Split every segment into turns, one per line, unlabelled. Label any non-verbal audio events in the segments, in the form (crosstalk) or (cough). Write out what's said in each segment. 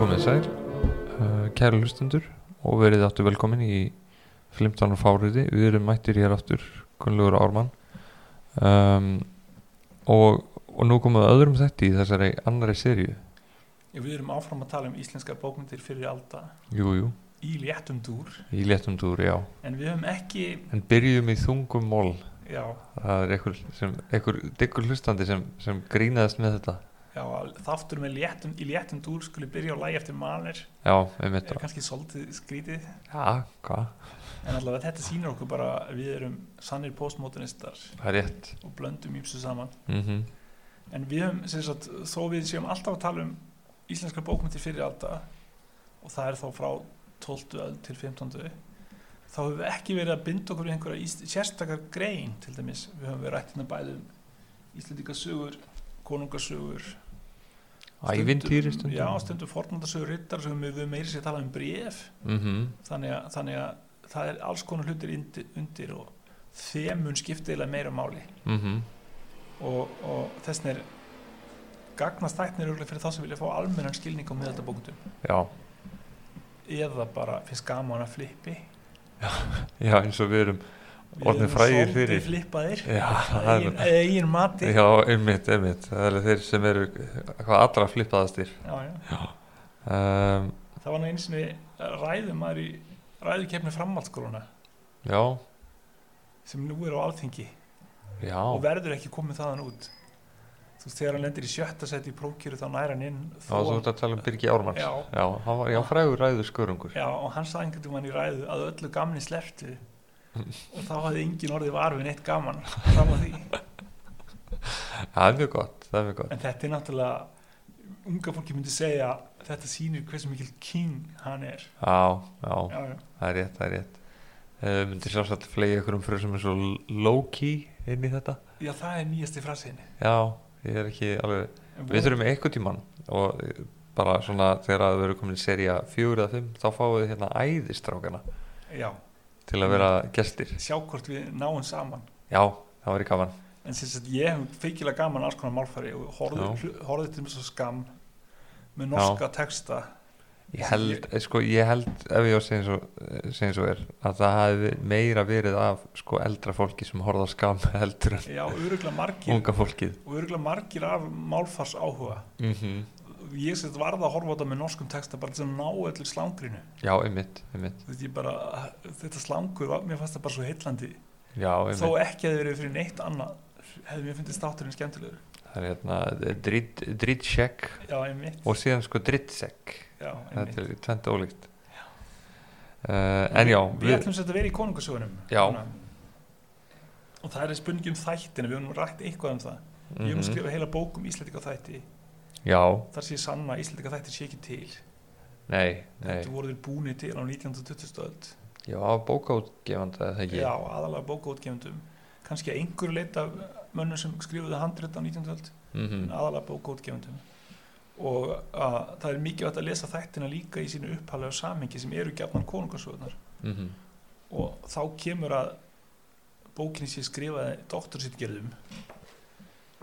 Komið sæl, uh, kæra hlustundur og verið aftur velkomin í 15. fáriði, við erum mættir hér aftur, Gunnlaugur Ármann um, og, og nú komum við öðrum þetta í þessari annari seríu,
Við erum áfram að tala um íslenska bókmyndir fyrir alda
jú, jú,
í léttum dúr
í léttum túr, já
en við höfum ekki,
en byrjum í þungum mól,
já,
það er einhver, sem, einhver diggur hlustandi sem, sem grínaðist með þetta,
já þáttur með léttum, í léttum dúr skulle byrja á lægi eftir maler
já, einmitt
er
já,
kannski svolítið skrítið
hvað,
en allavega þetta sýnir okkur bara að við erum sannir postmodernistar
það er rétt
og blöndum ímsu saman
mhm
en við höfum, sem sagt, þó við séum alltaf að tala um íslenska bókmyndir fyrir alda og það er þá frá 12. öld til 15. þá höfum við ekki verið að binda okkur við einhverja ís- sérstakar grein til dæmis, við höfum verið rættina bæðum um íslendingasögur, konungasögur
Ævintýri
stundum-
stundum
já, stundum fornaldasögur, rittarasögur, við höfum meiri sér talað um bref
Mhm,
þannig að, þannig að það er alls konar hlutir undir, undir og þemun skiptiðilega meira máli
mhm,
og, og þessin er gagnast tæknir örugglega fyrir þá sem vilja fá almennan skilning á miðaldabókundum
Já,
eða bara finnst gaman að flippi
já, eins og við erum Orðnir frægir fyrir.
flippaðir
Já, það er
eigin, eigin mati
Já, einmitt, einmitt Það eru þeir sem eru hvað allra flippaðastir
Já, já.
um,
það var nú eins og ræðumæður í ræðukefni framhaldsskóluna
Já,
sem nú er á alþingi
já
og verður ekki komið þaðan út þú veist þegar hann lendir í sjötta seti í prókjöru þá næra hann inn
Já, þú ert að tala um Birgi Ármanns
Já.
já hann var, já frægur ræður skörungur
Já, og hann sagði einhvern veginn í ræðu að öllu gamni slepptu og þá hafði engin orðið varfin eitt gaman fram á því.
Það er mjög gott, það er mjög gott
En þetta er náttúrulega, unga fólki myndi segja þetta sýnir hversu mikil king hann er.
Já, já,
Já, já.
það er rétt, það er rétt uh, Myndi sjálfsagt flegi ykkur um fyrir sem er svo low-key inn í þetta
já, það er nýjasti frasiðinni.
Já, ég er ekki alveg
En
Við
von-
þurfum eitthvað tíman og eh, bara svona þegar að við erum komin í seria fjögur eða fimm þá fáum við hérna æðistrákana
Já,
til að vera gestir.
sjá hvort við náum saman.
Já, það var í gaman.
En sem sagt, ég hef feikilega gaman alls konar málfari
Já.
og horfði, hlu- horfði til mér svo skam með norska texta.
Ég held, eh, sko, ég held ef ég á að segja eins og, eh, segja eins og er að það hafi meira verið af sko eldra fólki sem horfða á skam (laughs) heldur en
Já, öruglega margir,
unga fólkið.
og öruglega margir af málfars áhuga.
Mm
Mhm. ég set varða að horfa á þetta með norskum texta bara til að ná öllu slangrinu
Já, einmitt, einmitt.
Þú veit, ég bara, þetta slangur var, mér fannst það bara svo heillandi
Já, einmitt.
þó ekki að þið verið fyrir neitt annað hefði mér fundist þátturinn skemmtilegur
Það er hérna dritt, drittsjekk
já, einmitt,
og síðan sko drittsekk.
já, einmitt.
Þetta er tvent ólíkt. Uh, en já,
við, við ætlum sér að vera í konungasögunum
Já.
og það er spurningi um þættina við höfum rætt eitthvað um það ég höfum
Mhm.
skrifað heila bók um íslendinga þætti
Já,
þar sé sanna að íslendinga þætti sé ekki til
nei, nei
þetta voru þeir búni til á 1920 öld
Já, bókaútgefanda eða ekki
Já, aðalega bókaútgefendum kannski að einhverju leita mönnum sem skrifuðu handrit á 19. öld
Mhm.
en aðalega bókaútgefendum og að, það er mikilvægt að lesa þættina líka í sínu upphalega samingi sem eru gefnan konungarsöðunar
Mhm.
og þá kemur að bókinni sé skrifaði doktorsittgerðum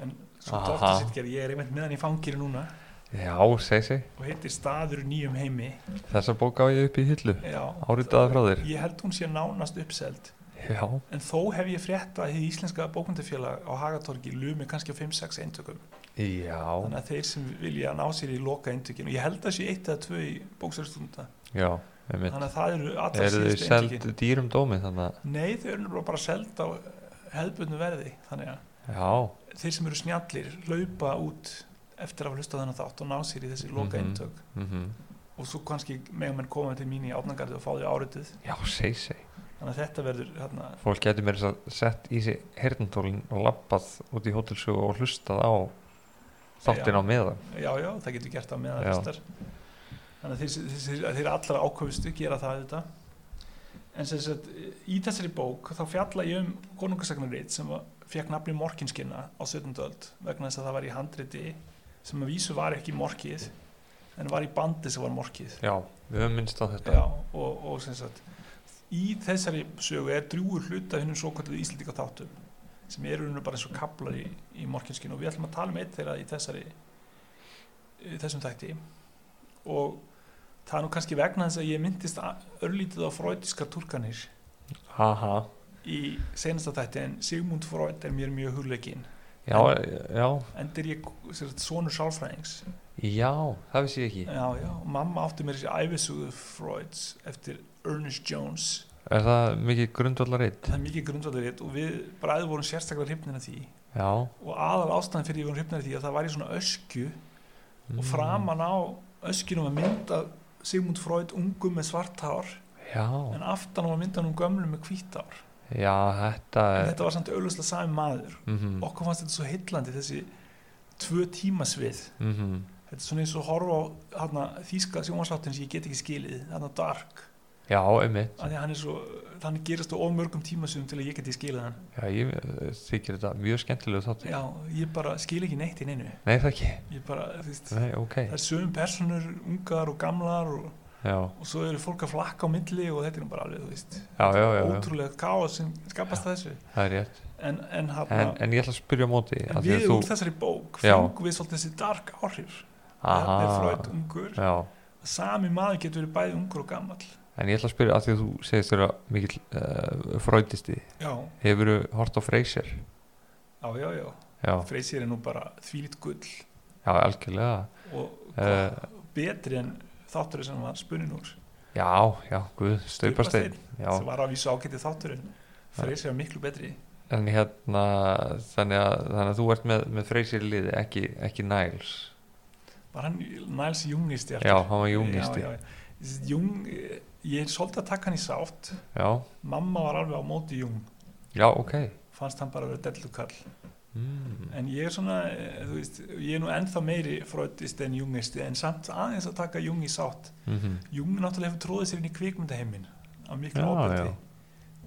en svo
Aha.
doktorsittgerð ég er einmitt með hann í fangir núna
Já, segi segi
og heitir Staður í nýjum heimi
Þessa bók á ég upp í hillu
Já,
Áritaða frá þér
ég held hún sé nánast uppseld
Já,
En þó hef ég frétt að hið íslenska bókmyndafélag á Hagatorgi lumi kannski á 5-6 eintökum.
já,
Þannig að þeir sem vilja ná sér í loka eintökinu, ég held að sé eitt eða tvö í bóksverðstunda.
já einmitt.
Þannig að það eru allra
Eru þau
síðustu
seld
eintökin.
dýrum dómi þannig að
Nei, þau eru nefnilega bara seld á hefðbundu verði. Þannig að
Já,
þeir sem eru snjallir laupa út eftir að hafa hlustað þennan þátt og ná sér í þessi loka
Mhm.
eintök.
mhm.
Og svo kannski megum menn koma til mín í átnagarði og fá því áritið.
já, segi segi
Þannig að þetta verður hérna,
Fólk getur mér að sett í sig herntólin og labbað út í hótelsögu og hlustað á þáttin
Já.
á meðan
Já, já, það getur gert það meðan
Já.
það hlustar Þannig að þeir, þeir, þeir, þeir allra ákveðustu gera það auðvitað En sem sagt, í þessari bók þá fjalla ég um konungasagnarrið sem fekk nafni Morkinskinna á 17. öld vegna þess að það var í handriti sem að vísu var ekki morkið en var í bandi sem var morkið
Já, við höfum minnst á
Já,
þetta
og, og sem sagt í þessari sögu er drjúur hluta hennum svo kallið íslendinga þáttum sem eru hennu bara eins og kaplar í, í morginskinu og við ætlum að tala um eitt þeirra í þessari í þessum þætti og það er nú kannski vegna þess að ég myndist a- örlítið á freudiskar turkanir
Haha
í senasta þætti en Sigmund Freud er mér mjög hugleikinn
Já, e, já,
endur ég sér, sonur sálfræðings
já, það vissi ég ekki
já, já, og mamma átti mér þessi æfisugu Freuds eftir Ernest Jones
Er það mikið grundvallarreitt?
það er mikið grundvallarið og við bræði vorum sérstaklega hrifnir af því
Já
og aðal ástæðan fyrir ég vorum hrifnir af því að það var í svona öskju
Mm.
og framan á öskjunum var mynd af Sigmund Freud ungum með svart hár
Já,
en aftan var myndan um gömlum með hvít hár
já, þetta
en
er
þetta var samt auðvitað sami maður
mhm,
okkur fannst þetta svo heillandi þessi tvö tímasvið
mhm,
þetta er svona eins og að horfa á hana, þýska sjónvarsláttinn sem ég get ekki skilið hana dark
Já, einmitt
af því að hann er svo, þannig gerist á of mörgum tímasviðum til að ég geti skilið hann
Já, ég eh, þykir þetta mjög skemmtilegu þáttur
já, ég bara skil ekki neitt í neinu
Nei, það ekki
ég bara, þú veist,
Nei, ok
það er sögum personur ungar og gamlar og,
Já,
og svo eru fólk að flakka á milli og þetta er nú bara alveg, þú veist
já, já, já, já.
ótrúlega káas sem skapast það þessu
það er rétt
en, en, hana,
En, en ég ætla að spyrja á móti
en,
af því að
við
þú-
úr þessari bók
Já.
fengum við svolítið þessi dark áhrif það er frönd ungur
Já,
sami maður getur verið bæði ungur og gammal
en ég ætla að spyrja að því að þú segist þér að mikill uh, fröytisti
já,
Hefur þú hort á Freyser?
já, já, já
Já,
Freysir er nú bara þvílitt gull
já, algjörlega
og
Eh.
betri en þátturinn sem var spunnin úr
Já, já, guð, staupasteinn Já, Eh.
sem var að vísa ágætið þátturinn Freysir var miklu betri
en hérna þannig að, þannig að þú ert með, með Freyser í liði, ekki, ekki Niles
var hann Niles Jungist
Já, hann var júnisti Já,
Jung, eh, ég er svolítið að taka hann í sátt
já,
mamma var alveg á móti Jung
ok
fannst hann bara að vera dellukall
mm.
en ég er svona, eh, þú veist ég er nú ennþá meiri fröndist en Jungisti en samt aðeins að taka Jung í sátt
Mm
Jung náttúrulega hefur tróðið sér inn í kvikmyndaheimin á miklu
Já,
ábyrti
já.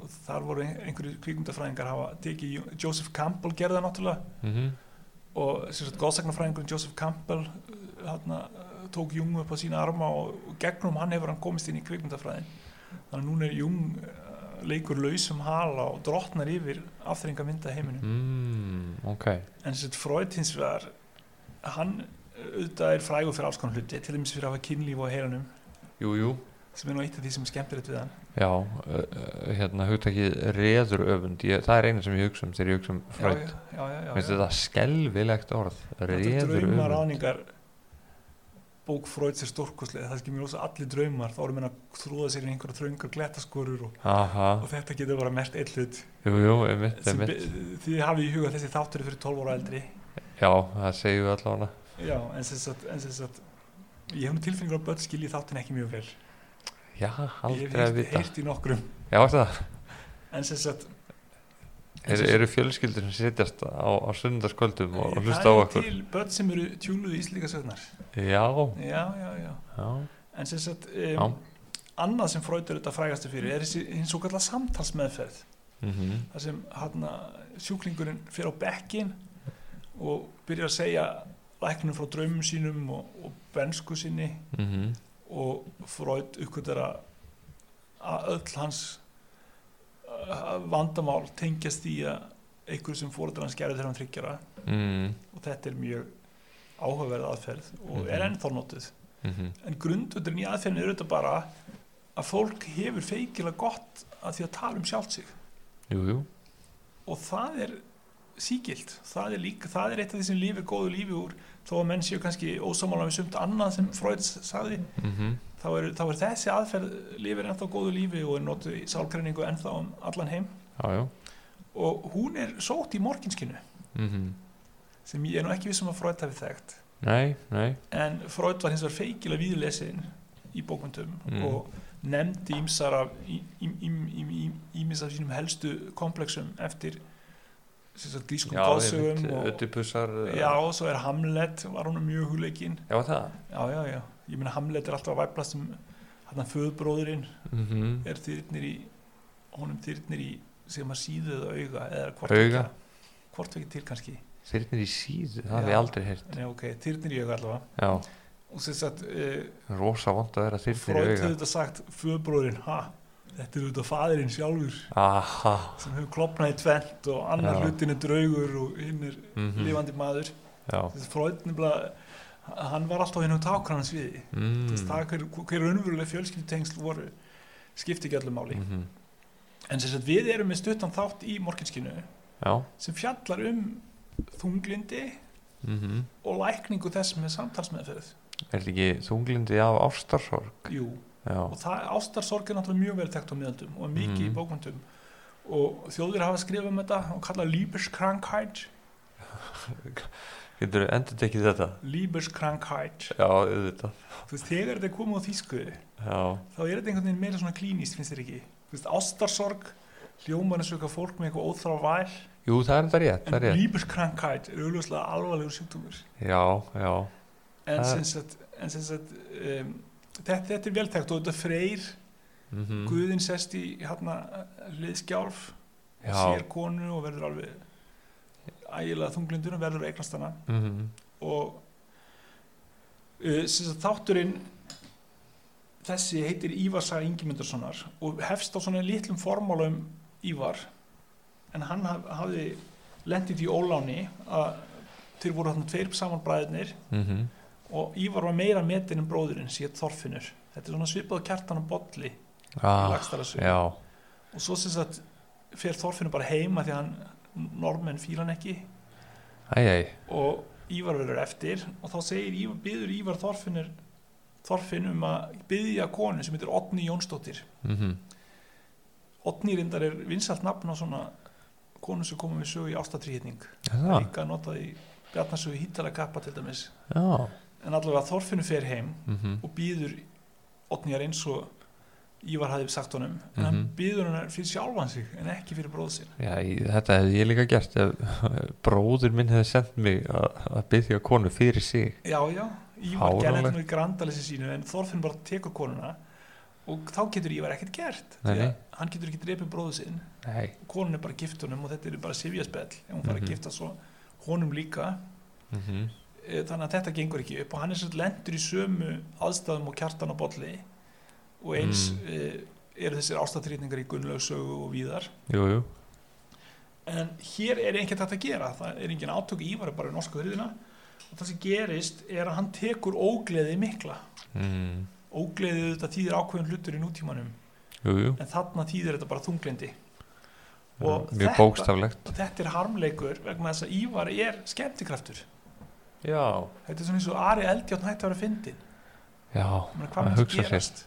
og þar voru ein- einhverju kvikmyndafræðingar hafa tekið, Ju- Joseph Campbell gerði það náttúrulega
mhm,
og sem sagt góðsagnafræðingurinn Joseph Campbell uh, hana, tók Jung upp á sína arma og, og gegnum hann hefur hann komist inn í kvikmyndafræðin þannig að núna er Jung uh, leikur lausum hala og drotnar yfir afþrenga mynda heiminum
mm, Ok,
en sem sagt Freud hins vegar hann uh, auðvitað er frægur fyrir alls konar hluti til dæmis fyrir að hafa kynlíf á heilanum
jú, jú
sem er nú eitt af því sem er skemmtilegt við hann
Já, uh, uh, hérna hugtakið reður öfund, ég, það er eina sem ég hugsa um þegar ég hugsa um fröyt
já, já, já, já,
Mér finnst
já.
þetta skelvilegt orð
Þetta
Reður
drauma
öfund
ráningar bók Freuds er stórkoslega það skilur mér ósa allir draumar þá eru menn að þrúða sér í einhverja þröngar glettaskorur og,
Aha,
og þetta getur bara mert eitt hlut
jú, jú, einmitt,
sem
einmitt
be- þið hafið í huga þessi þáttur er fyrir 12 ára eldri
Já, það segjum við allavega
já, en sem sagt, en sem sagt ég hef nú tilfinningur að börn skilji þáttin ekki mjög vel
Já,
ég
aldrei
hef
að
heyrt-
vita
heyrt í nokkrum
Já, er það,
en sem sagt en
er,
sem sagt-
eru fjölskyldur sem sitjast á, á sundarskvöldum og, og hlusta á
það er
okkur
til börn sem eru tjúluð í íslíka sögnar
Já,
já, já, já
já,
en sem sagt
Já.
um, annað sem Freud er auðvitað frægastu fyrir er þessi hins og kalla samtalsmeðferð
mhm,
þar sem hana, sjúklingurinn fyrir á bekkin og byrjar að segja læknum frá draumum sínum og, og bensku sinni
mhm
og Freud uppgötar að- að öll hans uh, vandamál tengjast því að einhverju sem fóreldrar hans gerði þegar hann þryggjara
mm,
og þetta er mjög áhugaverð aðferð og er
Mhm.
ennþá notuð
mhm,
en grundvöldurinn í aðferðinu er auðvitað bara að fólk hefur feikilega gott að því að tala um sjálft sig
Jú, jú,
og það er síkilt, það er líka það er eitt af því sem lífið góðu lífi úr þó að menn séu kannski ósamála við sumt annað sem Freud sagði,
mhm
þá er, þá er þessi aðferð lifir ennþá góðu lífi og er notuð í sálgreiningu ennþá um allan heim
Já, já,
og hún er sótt í morginskinu
mhm
sem ég er nú ekki vissum að Freud hafi þekkt
Nei, nei,
en Freud var hins vegar feikilega viðlesin í bókmyndum
Mm.
og nefndi ímsar af ímis af sínum helstu komplexum eftir sem sagt, grískum
já,
góðsögum og,
ödipusar
já, og svo er Hamlet var hún mjög hugleikinn
já, var það
já, já, já, ég meina Hamlet er alltaf að væplast um hann að föðbróðurinn
mhm,
er þyrnir í honum þyrnir í sem að síðu eða auga eða hvort
Auga.
ekki hvort ekki til kannski
Þyrnir í síðu, það hef
Já.
ég aldrei heyrt
Nei, ok, þyrnir í auga allavega
Já,
og sem sagt uh,
rosa vant að vera þyrnir í
Freud hefði
auga
þetta sagt föðbróðurinn, ha, þetta er auðvitað faðirinn sjálfur
Aha,
sem hefur klopnað í tvent og annar
Já.
hlutin er draugur og hinn er
mhm
lifandi maður
Já,
þessi Freud nefnilega hann var alltaf hinn um tákrann sviði
mm.
mm. það hver, hver raunveruleg fjölskyldutengsl voru skipti ekki öllum máli
Mhm.
en sem sagt við erum með stuttan þátt í morginskinu
Já
sem fjallar um þunglindi
mm
og lækningu þess með samtalsmeðferð
Er þetta ekki þunglindi af ástarsorg?
jú,
Já
og það, ástarsorg er náttúrulega mjög vel þekkt á miðaldum og er
Mhm.
mikið í bókmyndum og þjóðir hafa skrifað um þetta og kallað Liebeskrankheit
Getur þú endur tekið þetta?
Liebeskrankheit
Já, auðvitað
þú veist, þegar þetta er komið á þýsku
Já,
þá er þetta einhvern veginn meira svona klínist, finnst þér ekki þú veist, ástarsorg hljómar eins og eitthvað fólk með eitthvað óþrá væl
jú það er þetta rétt, það er
en
rétt
Liebeskrankheit er auðvitað alvarlegur sjúkdómur
Já, já,
en
Það-
sem sagt, en sem sagt um, þetta, þetta er veltækt og þetta freyr
mm
guðinn sest í hérna hliðskjálf
já.
sér konu og verður alveg ægilega þunglindur og verður að eignast hana
mm
og uh, sem sagt, þátturinn þessi heitir Ívarsa Ingimundarssonar og hefst á svona litlum formála um Ívar en hann haf, hafði lendið í óláni að þeir voru þarna tveir saman bræðinir
Mm -hmm.
og Ívar var meira metin en bróðurinn sér Þorfinnur þetta er svona svipað og kjartan og bolli í
ah,
lagstæðarsögu
Já,
og svo sem sagt fer Þorfinnur bara heima því að hann normenn fíla hann ekki
æj, æj
og Ívar verður eftir og þá segir Ívar, byður Ívar Þorfinnur Þorfinn um að byðja konu sem heitir Otni Jónsdóttir
mm
Otni reyndar er vinsalt nafn á svona konu sem komum við sögu í ástatríðning
Það,
líka notað í Bjarnarsögu hýttara kappa til dæmis
já
en allavega Þorfinnur fer heim
mm
og býður Otniar eins og Ívar hafði sagt honum en hann
Mhm.
býður hann fyrir sjálfan sig en ekki fyrir bróð sinn
Já, ég, þetta hefði ég líka gert ef (laughs) bróður minn hefði sendt mig að að byggja konu fyrir sig
Já, já, Ívar
Fáránlegt.
gerði þetta nú í grandalessi sínu en Þorfinn bara tekur konuna og þá getur Ívar ekkert gert því
Nei,
að
nei.
hann getur ekki drepið bróðu sinn
Nei
konun er bara gift honum og þetta er bara sifjaspell ef hún fara
Mhm.
að gifta svo honum líka
mm
Eh, þannig að þetta gengur ekki upp og hann er sér lendur í sömu aðstæðum og kjartan á bolli og eins
Mm.
mm. eru þessir ástatrýtningar í Gunnlaugsögu og víðar
Jú, jú
en hér er ekkert hægt að gera það er engin átök í Ívar er bara í norsku hryðina og það sem gerist er að hann tekur ógleði mikla
mm.
ógleðið auðvitað þýðir ákveðin hlutur í nútímanum
Jú, jú
en þarna þýðir þetta bara þunglindi
Mjög
Og þetta-
bókstaflegt
og þetta er harmleikur vegna þess að Ívar er skemmtikraftur
Já,
þetta er svona eins og Ari Eldjátt hætti að vera fyndin
já
Ég meina,
Að
hvað myndi
hugsa sér.
gerast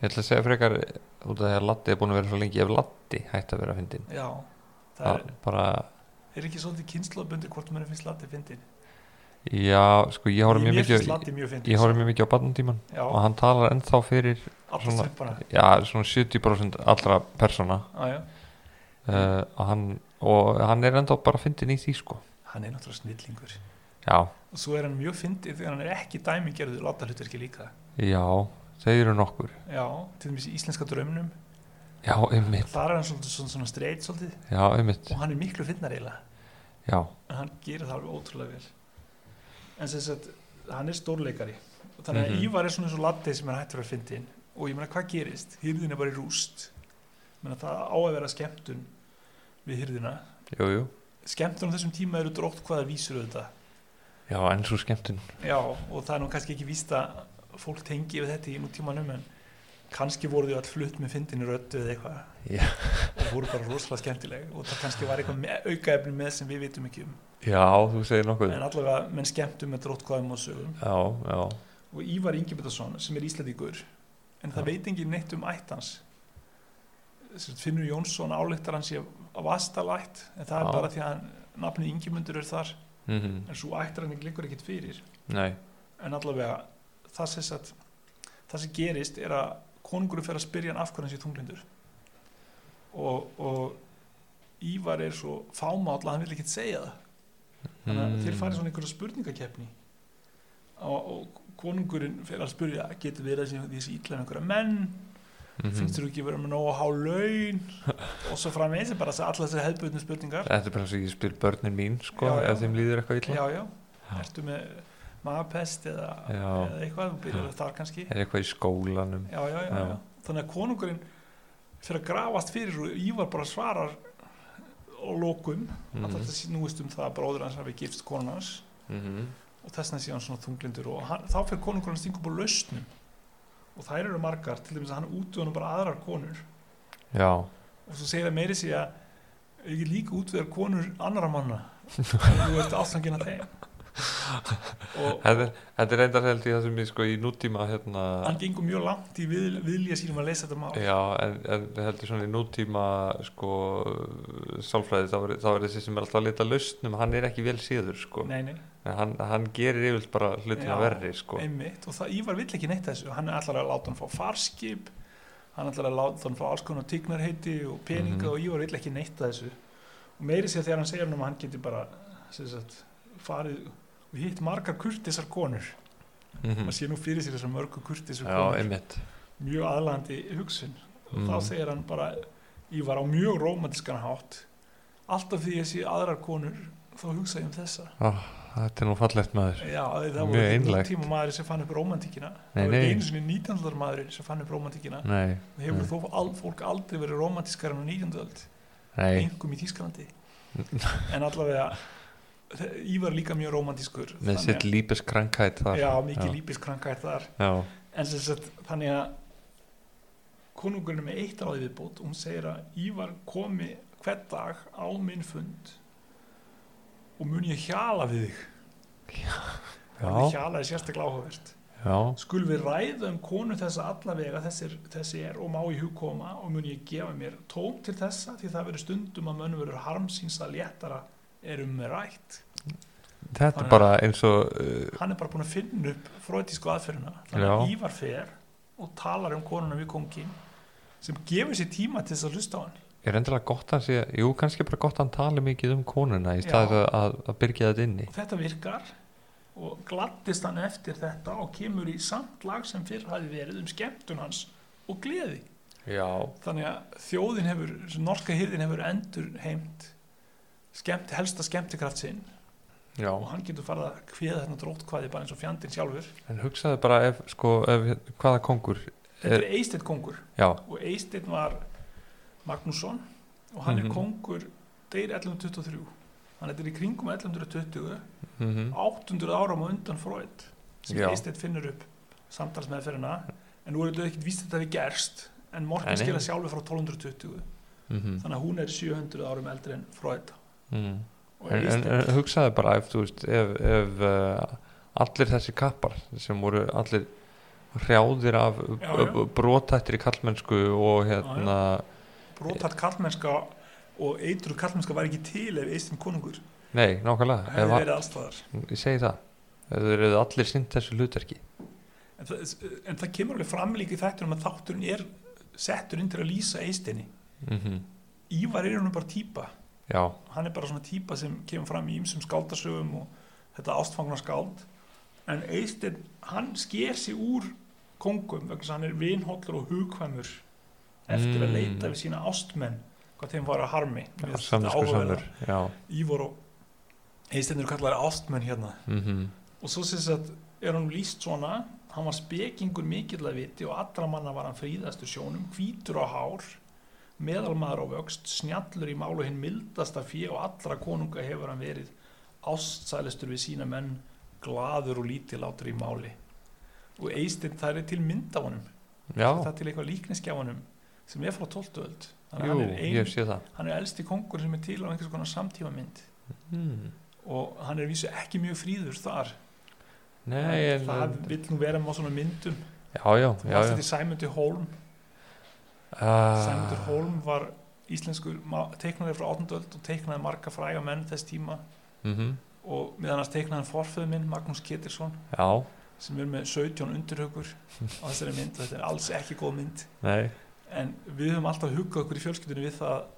Ég ætla að segja frekar út af því að Latti er búin að vera svo lengi ef Latti hætti að vera fyndin
já, það
Það
er,
bara,
er ekki svolítið kynnslóðbundir hvort mér finnst Latti fyndin
já, sko ég horfði mjög
mér
mikið
finnst Latti mjög fyndin
Ég horfði mjög mikið á barnatíman
já,
og hann talar ennþá fyrir
alltaf
svona-
sveppana
já, svona 70% allra persóna
já, já. Mm.
uh, og, hann, og hann er ennþá bara fyndin í því sko
hann er náttúrulega snillingur
Já,
og svo er hann mjög fyndin þegar hann er ekki dæmingerður Latta hluturki líka
já, þeir eru nokkur
já, til dæmis í íslenska draumnum
Já, einmitt,
þar er hann svolítið svona, svona streit svolítið
já, einmitt
og hann er miklu fyndnar eiginlega
Já,
en hann gerir það alveg ótrúlega vel en sem sagt, hann er stórleikari og þannig að
Mhm.
Ívar er svona eins og Latti sem er hættur að fyndi inn og ég meina hvað gerist hýrðin er bara í rúst Ég meina, það á að vera skemmtun við hýrðina
jú, jú
skemmtun á þessum tíma eru drótt hvaða vísur auðvitað
Já, enn svo skemmtun
já, og það er nú kannski ekki víst að fólk tengi við þetta í nútímanum en kannski voru þau all flutt með fyndinni röddu eða eitthvað
Já.
og voru bara rosalega skemmtileg og það kannski var eitthvað með, aukaefni með sem við vitum ekki um
Já, þú segir nokkuð
en allavega menn skemmtum með drótkvæðum og sögum
Já, já,
og Ívar Ingebertarsson sem er íslendingur en það
Já.
veit engin neitt um ætt hans Sem sagt, Finnur Jónsson álíktar hans sé af astalætt en það
Já.
er bara því að nafnið Ingemundur er þar
mm
en svo ættaræning liggur ekkit fyrir
nei
en allavega það sem, sagt, það sem gerist er að konungurum fer að spyrja hann af hverju hann sé tunglindur og, og Ívar er svo fámáll að hann vil ekkit segja það þannig að þeir farið svona einhverja spurningakeppni og, og konungurinn fyrir að spurja getur verið þessi, þessi illa með einhverja menn
mm
finnst þér þú ekki vera með nógu há (laughs) laun og svo framvegis er bara þess að alla þessar hefðböðnu spurningar
Þetta er bara eins og ég spyr börnin mín sko,
Já, já.
ef þeim líður eitthvað illa
já, já, ertu með magapest eða,
Já.
eða eitthvað, þú byrjar þar kannski já,
Er eitthvað í skólanum
já, já, já,
Já.
þannig að konungurinn fyrir að grafast fyrir og Ívar bara svarar og lókum
Mhm.
Mhm. að þetta snúist um það að bróður hans hafi gifst konun hans
mm -hmm.
og þess vegna sé hann svona þunglindur og hann, þá fyrir konungurinn að stinga upp á lausnum og þær eru margar, til dæmis að hann útvegar bara aðrar konur
já,
og svo segir það meiri sig að ekki líka útvegar konur annara manna þú ert ástangin að
(laughs)
þeim og
þetta er- þetta er reyndar held í það sem ég sko í nútíma hérna
hann gengur mjög langt í við, viðlíja sínum að leysa þetta mál
Já, en, en heldur svona í nútíma sko, sálfræði þá er, þá er þessi sem er alltaf að lita lausnum hann er ekki vel síður sko.
nei, nei,
En hann, hann gerir yfirlt bara hlutina
Já,
verri sko.
einmitt og það Ívar vill ekki neitt þessu, hann er allar að láta hann fá farskip hann er allar að láta hann fá alls konar tignarheiti og peninga
Mhm.
og Ívar vill ekki neitt þessu og meiri sér þegar hann segir hann um að hann geti bara sem sagt, farið og hitt margar kurtisar konur
Mhm.
maður sé nú fyrir sér þessar mörgu kurtisar
Já,
konur
einmitt
mjög aðlandi hugsun og þá
Mhm.
segir hann bara ég var á mjög rómantískan hátt alltaf því ég sé aðrar konur þá hugsa ég um þessa
Þetta er nú fallegt maður
Já, það
Mjög
voru ekki
einlægt.
nútíma maður sem fann upp rómantíkina
Nei, Mm.
það voru ekki
nei.
einu sinni 19. maður sem fann upp rómantíkina
Nei,
það hefur þó al, fólk aldrei verið rómantískar en á 19. öld,
nei,
einhverjum í
(laughs)
Þísklandi en allavega þe- Ívar er líka mjög rómantískur
með sitt lípiskrankætt þar
já, mikið
Já.
lípiskranka er þar
Já,
en sem sagt, þannig að konungurinn er með eitt ráði viðbót og hún segir að Ívar komi hvern dag á minn fund og mun ég hjala við þig
Já.
Það er hjala er sérstaklega áhugavert
já,
skul við ræða um konu þessa allavega þessir, þessi er og má í hug koma og mun ég gefa mér tóm til þessa því það verður stundum að mönnum verður harmsins að léttara er um mér rætt
þetta
Þannig-
er bara eins og uh,
hann er bara búinn að finna upp fröðtísku aðferðina þannig að
Já.
Ívar fer og talar um konuna við kongin sem gefur sér tíma til þess að hlusta á hann
er endilega gott að sé Jú, kannski bara gott að hann tali mikið um konuna í
Já.
staðið að, að, að byrgja þetta inni
og þetta virkar og gladdist hann eftir þetta og kemur í samt lag sem fyrr hafi verið um skemmtun hans og gleði
Já,
þannig að þjóðin hefur, norska hýrðin hefur endur heimt skemmt, helsta skemmtikraft sinn
já
og hann getur farið að kveða þarna drótkvæði bara eins og fjandinn sjálfur
En hugsaðu bara ef, sko, ef, hvaða kongur
þetta er Eysteinn kongur
Já,
og Eysteinn var Magnússon og hann
Mhm.
er kongur deyr 1123 hann er í kringum 1120
mm
800 árum á undan Freud sem
Já.
Eysteinn finnur upp samtalsmeðferðina en nú er þetta ekkert víst að þetta hefði gerst en
Nei,
Morgan
nei.
skilja sjálfur frá 1220
Mhm.
þannig að hún er 700 árum eldri en Freud
mm.
og
en, en,
Eysteinn
en hugsaðu bara ef, þú veist, ef, ef uh, allir þessi kappar sem voru allir hrjáðir af
Já, já.
brotættir í kallmennsku og hérna
brotart karlmennska og eitru karlmennska var ekki til ef Eysteinn konungur
nei, nákvæmlega
hefði
ef,
verið allstaðar
hann- ég segi það ef þeir eru allir sinnt þessu hlutverki
En það, en það kemur alveg fram líka í þættunum að þátturinn er settur inn til að lýsa eistinni.
mm
Ívar er hann bara típa.
já,
Hann er bara svona típa sem kemur fram í ýmsum skáldasögum og þetta ástfangna skáld. En eistinn, hann sker sig úr kongum vegna þess að hann er vinhollur og hugkvæmur eftir
Mm.
að leita við sína ástmenn hvað þeim var að harmi. Mér finnst þetta
samvisku samur
áhugaverða.
já,
Ívar og eistinn eru kallar ástmenn hérna.
mm
og svo sem sagt er hann líst svona hann var spekingur mikill að viti og allra manna var hann fríðastur sjónum hvítur á hár meðalmaður á vöxt, snjallur í málu hinn mildasta fjö og allra konunga hefur hann verið ástsælistur við sína menn gladur og lítilátur í máli og eistinn það er til mynd af honum
já,
það er til eitthvað líkniski af honum sem er frá 12. öld þannig
jú,
að hann er,
ég
ein,
sé það
hann er elsti kongur sem er til á einhvers konar samtíma mynd
mm.
og hann er vísu ekki mjög fríður þar
nei, en,
það
en,
vill nú vera með svona myndum
já, já,
þú
já,
varst
já.
þetta í Sæmundi Hólm Sæmundur
Ah,
Hólm var íslenskur teiknarið frá 18. öld og teiknaði marga fræga menn þess tíma
mhm,
og meðan hans teiknaði hann forföðu minn Magnús Ketilsson
já,
sem er með 17 undurhaukur á þessari mynd og þetta er alls ekki góð mynd
nei
en við höfum alltaf huggað okkur í fjölskyldunni við það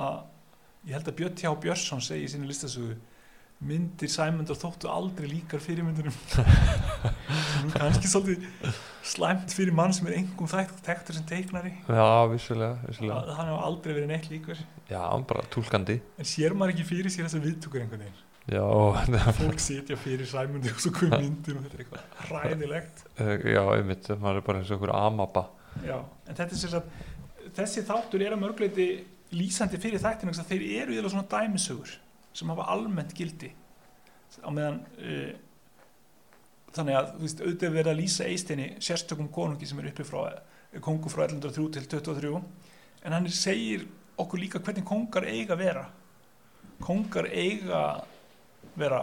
að ég held að Björn T.H. Björnsson segi í sinni listasögu myndir Sæmundur þóttu aldrei líkar fyrirmyndunum Nú kannski svolítið slæmt fyrir mann sem er engum þægt tektur sem teiknari
Já, vissulega, vissulega.
að hann hefur aldrei verið neitt líkur
Já, bara túlkandi.
en sér maður ekki fyrir sér þess að viðtökur einhvern veginn
Já, (laughs)
fólk sitja fyrir Sæmundi og svo kom myndin og þetta er eitthvað ræðilegt
eh, já, einmitt, maður er bara eins og okkur amaba.
Já, en þetta er sér að þessi þáttur er að mörgleiti lýsandi fyrir þættinu þess að þeir eru yfirlega svona dæmisögur sem hafa almennt gildi á meðan uh, þannig að þú veist, auðvitað er verið að lýsa eistinni sérstökum konungi sem er uppi frá eh, kongu frá 1103 til 23 en hann segir okkur líka hvernig kongar eiga að vera kongar eiga vera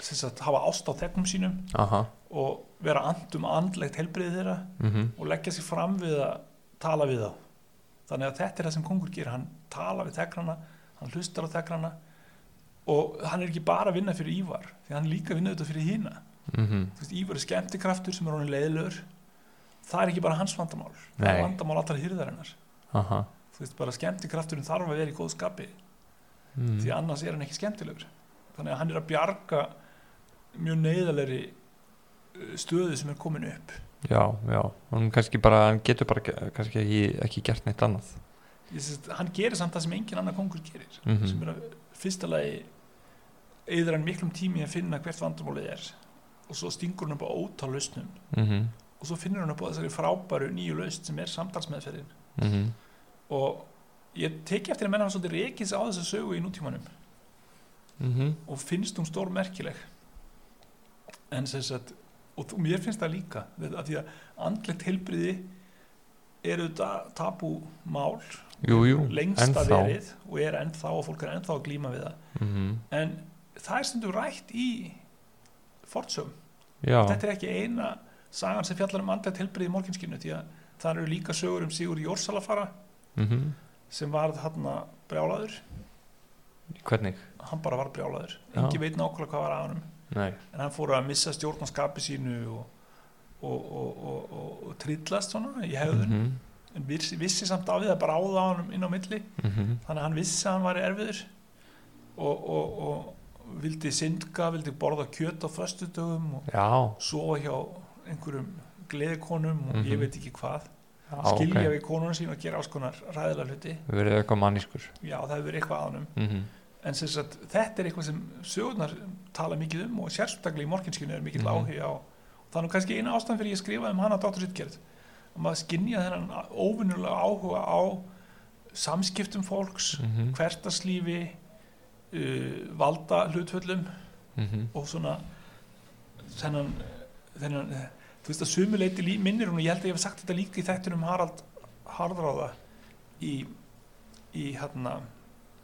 sem sagt, hafa ást á þegnum sínum
aha,
og vera andum andlegt helbriðið þeirra
mhm,
og leggja sér fram við að tala við þá þannig að þetta er það sem kongur gerir hann tala við þekrana, hann hlustar á þekrana og hann er ekki bara að vinna fyrir Ívar, því hann er líka að vinna þetta fyrir hína
mhm
Þú veist, Ívar er skemmtikraftur sem er honum leiðilegur það er ekki bara hans vandamál það
Nei.
er vandamál allra hýrðarinnar
aha
þú veist, bara skemmtikrafturinn þarf að vera í góð skapi
mm.
því annars er hann ekki skemmtilegur þannig að hann er að bjarga mjög neyðalegri stöðu sem er komin upp
já, já, hann kannski bara hann getur bara ge- kannski ekki, ekki gert neitt annað
Ég sést, hann gerir samt það sem engin annar kongur gerir
Mhm.
sem er að fyrsta lagi eður hann miklum tími að finna hvert vandamálið er og svo stingur hann upp á ótal lausnum
mhm,
og svo finnur hann upp á þessari frábæru nýju lausn sem er samtalsmeðferðin
mhm,
og ég teki eftir að menna hann svolítið reikins á þessa sögu í nútímanum
mhm
og finnst hún stór merkileg en sem sagt og þú- mér finnst það líka þetta- af því að andlegt heilbriði eru þetta tabú mál
jú, jú,
lengsta verið og er ennþá og fólk er ennþá að glíma við það
mhm,
en það er stundum rætt í fortsögum,
já,
þetta er ekki eina sagan sem fjallar um andlega tilbyrði í morginskinu því að það eru líka sögur um Sigur Jórsalafara
mhm
sem varð hann brjálaður
hvernig,
hann bara var brjálaður,
Já.
engin veit nákvæmlega hvað var að honum
nei,
en hann fór að missa stjórn á skapi sínu og, og, og, og, og, og trillast svona í hefðun
mhm,
en vissi, vissi samt af því að bara áða á honum inn á milli
mhm
þannig að hann vissi að hann var erfiður og, og, og vildi syndga, vildi borða kjöt á föstudögum og
já,
sofa hjá einhverjum gleðikonum og ég
Mhm.
veit ekki hvað
já,
skilja
ok
við konuna sín og gera alls konar ræðilega hluti,
verið eitthvað mannískur
já það hefur verið eitthvað að honum
mhm,
en sem sagt, þetta er eitthvað sem sögurnar tala mikið um og sérstaklega í morginskinu er mikill mm
Mhm.
áhuga á og það er nú kannski eina ástæðan fyrir ég skrifaði um hana Dr. Sittgerð að maður skinja þennan óvinnulega áhuga á samskiptum fólks
mhm,
hvertaslífi uh, valda hlutföllum
mhm
og svona þennan, þennan eh, þú veist að sumuleiti lí- minnir hún og ég held að ég hef sagt þetta líka í þættunum Harald Harðráða í, í hérna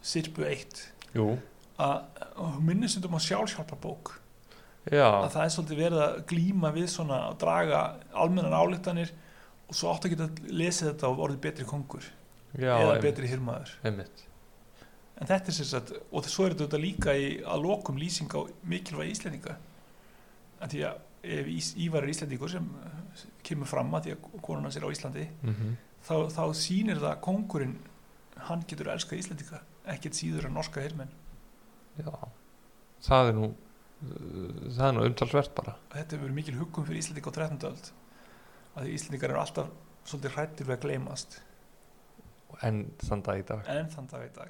Sirpu 1
jú,
að hún minnir stundum á sjálfhjálparbók
já
að það er svolítið verið að glíma við svona að draga almennar álíktanir og svo áttu að geta lesið þetta og orðið betri kongur
já,
eða
einmitt,
betri hirmaður
einmitt,
En þetta er sem sagt, og svo er þetta líka í, að lokum lýsing á mikilvæg Íslendinga. Að því að ef Ís, Ívar er Íslendingur sem eh, kemur fram að því að konan hans er á Íslandi,
mhm
þá, þá sýnir það að kongurinn, hann getur elskað Íslendinga, ekkert síður en norska hirmenn.
Já, það er nú eh, það er nú umtalsvert bara
Og þetta hefur verið mikil hugum fyrir Íslendinga á 13. öld. Að því Íslendingar eru alltaf svolítið hrættir við að gleymast.
en þann dag í dag
En þann dag í dag.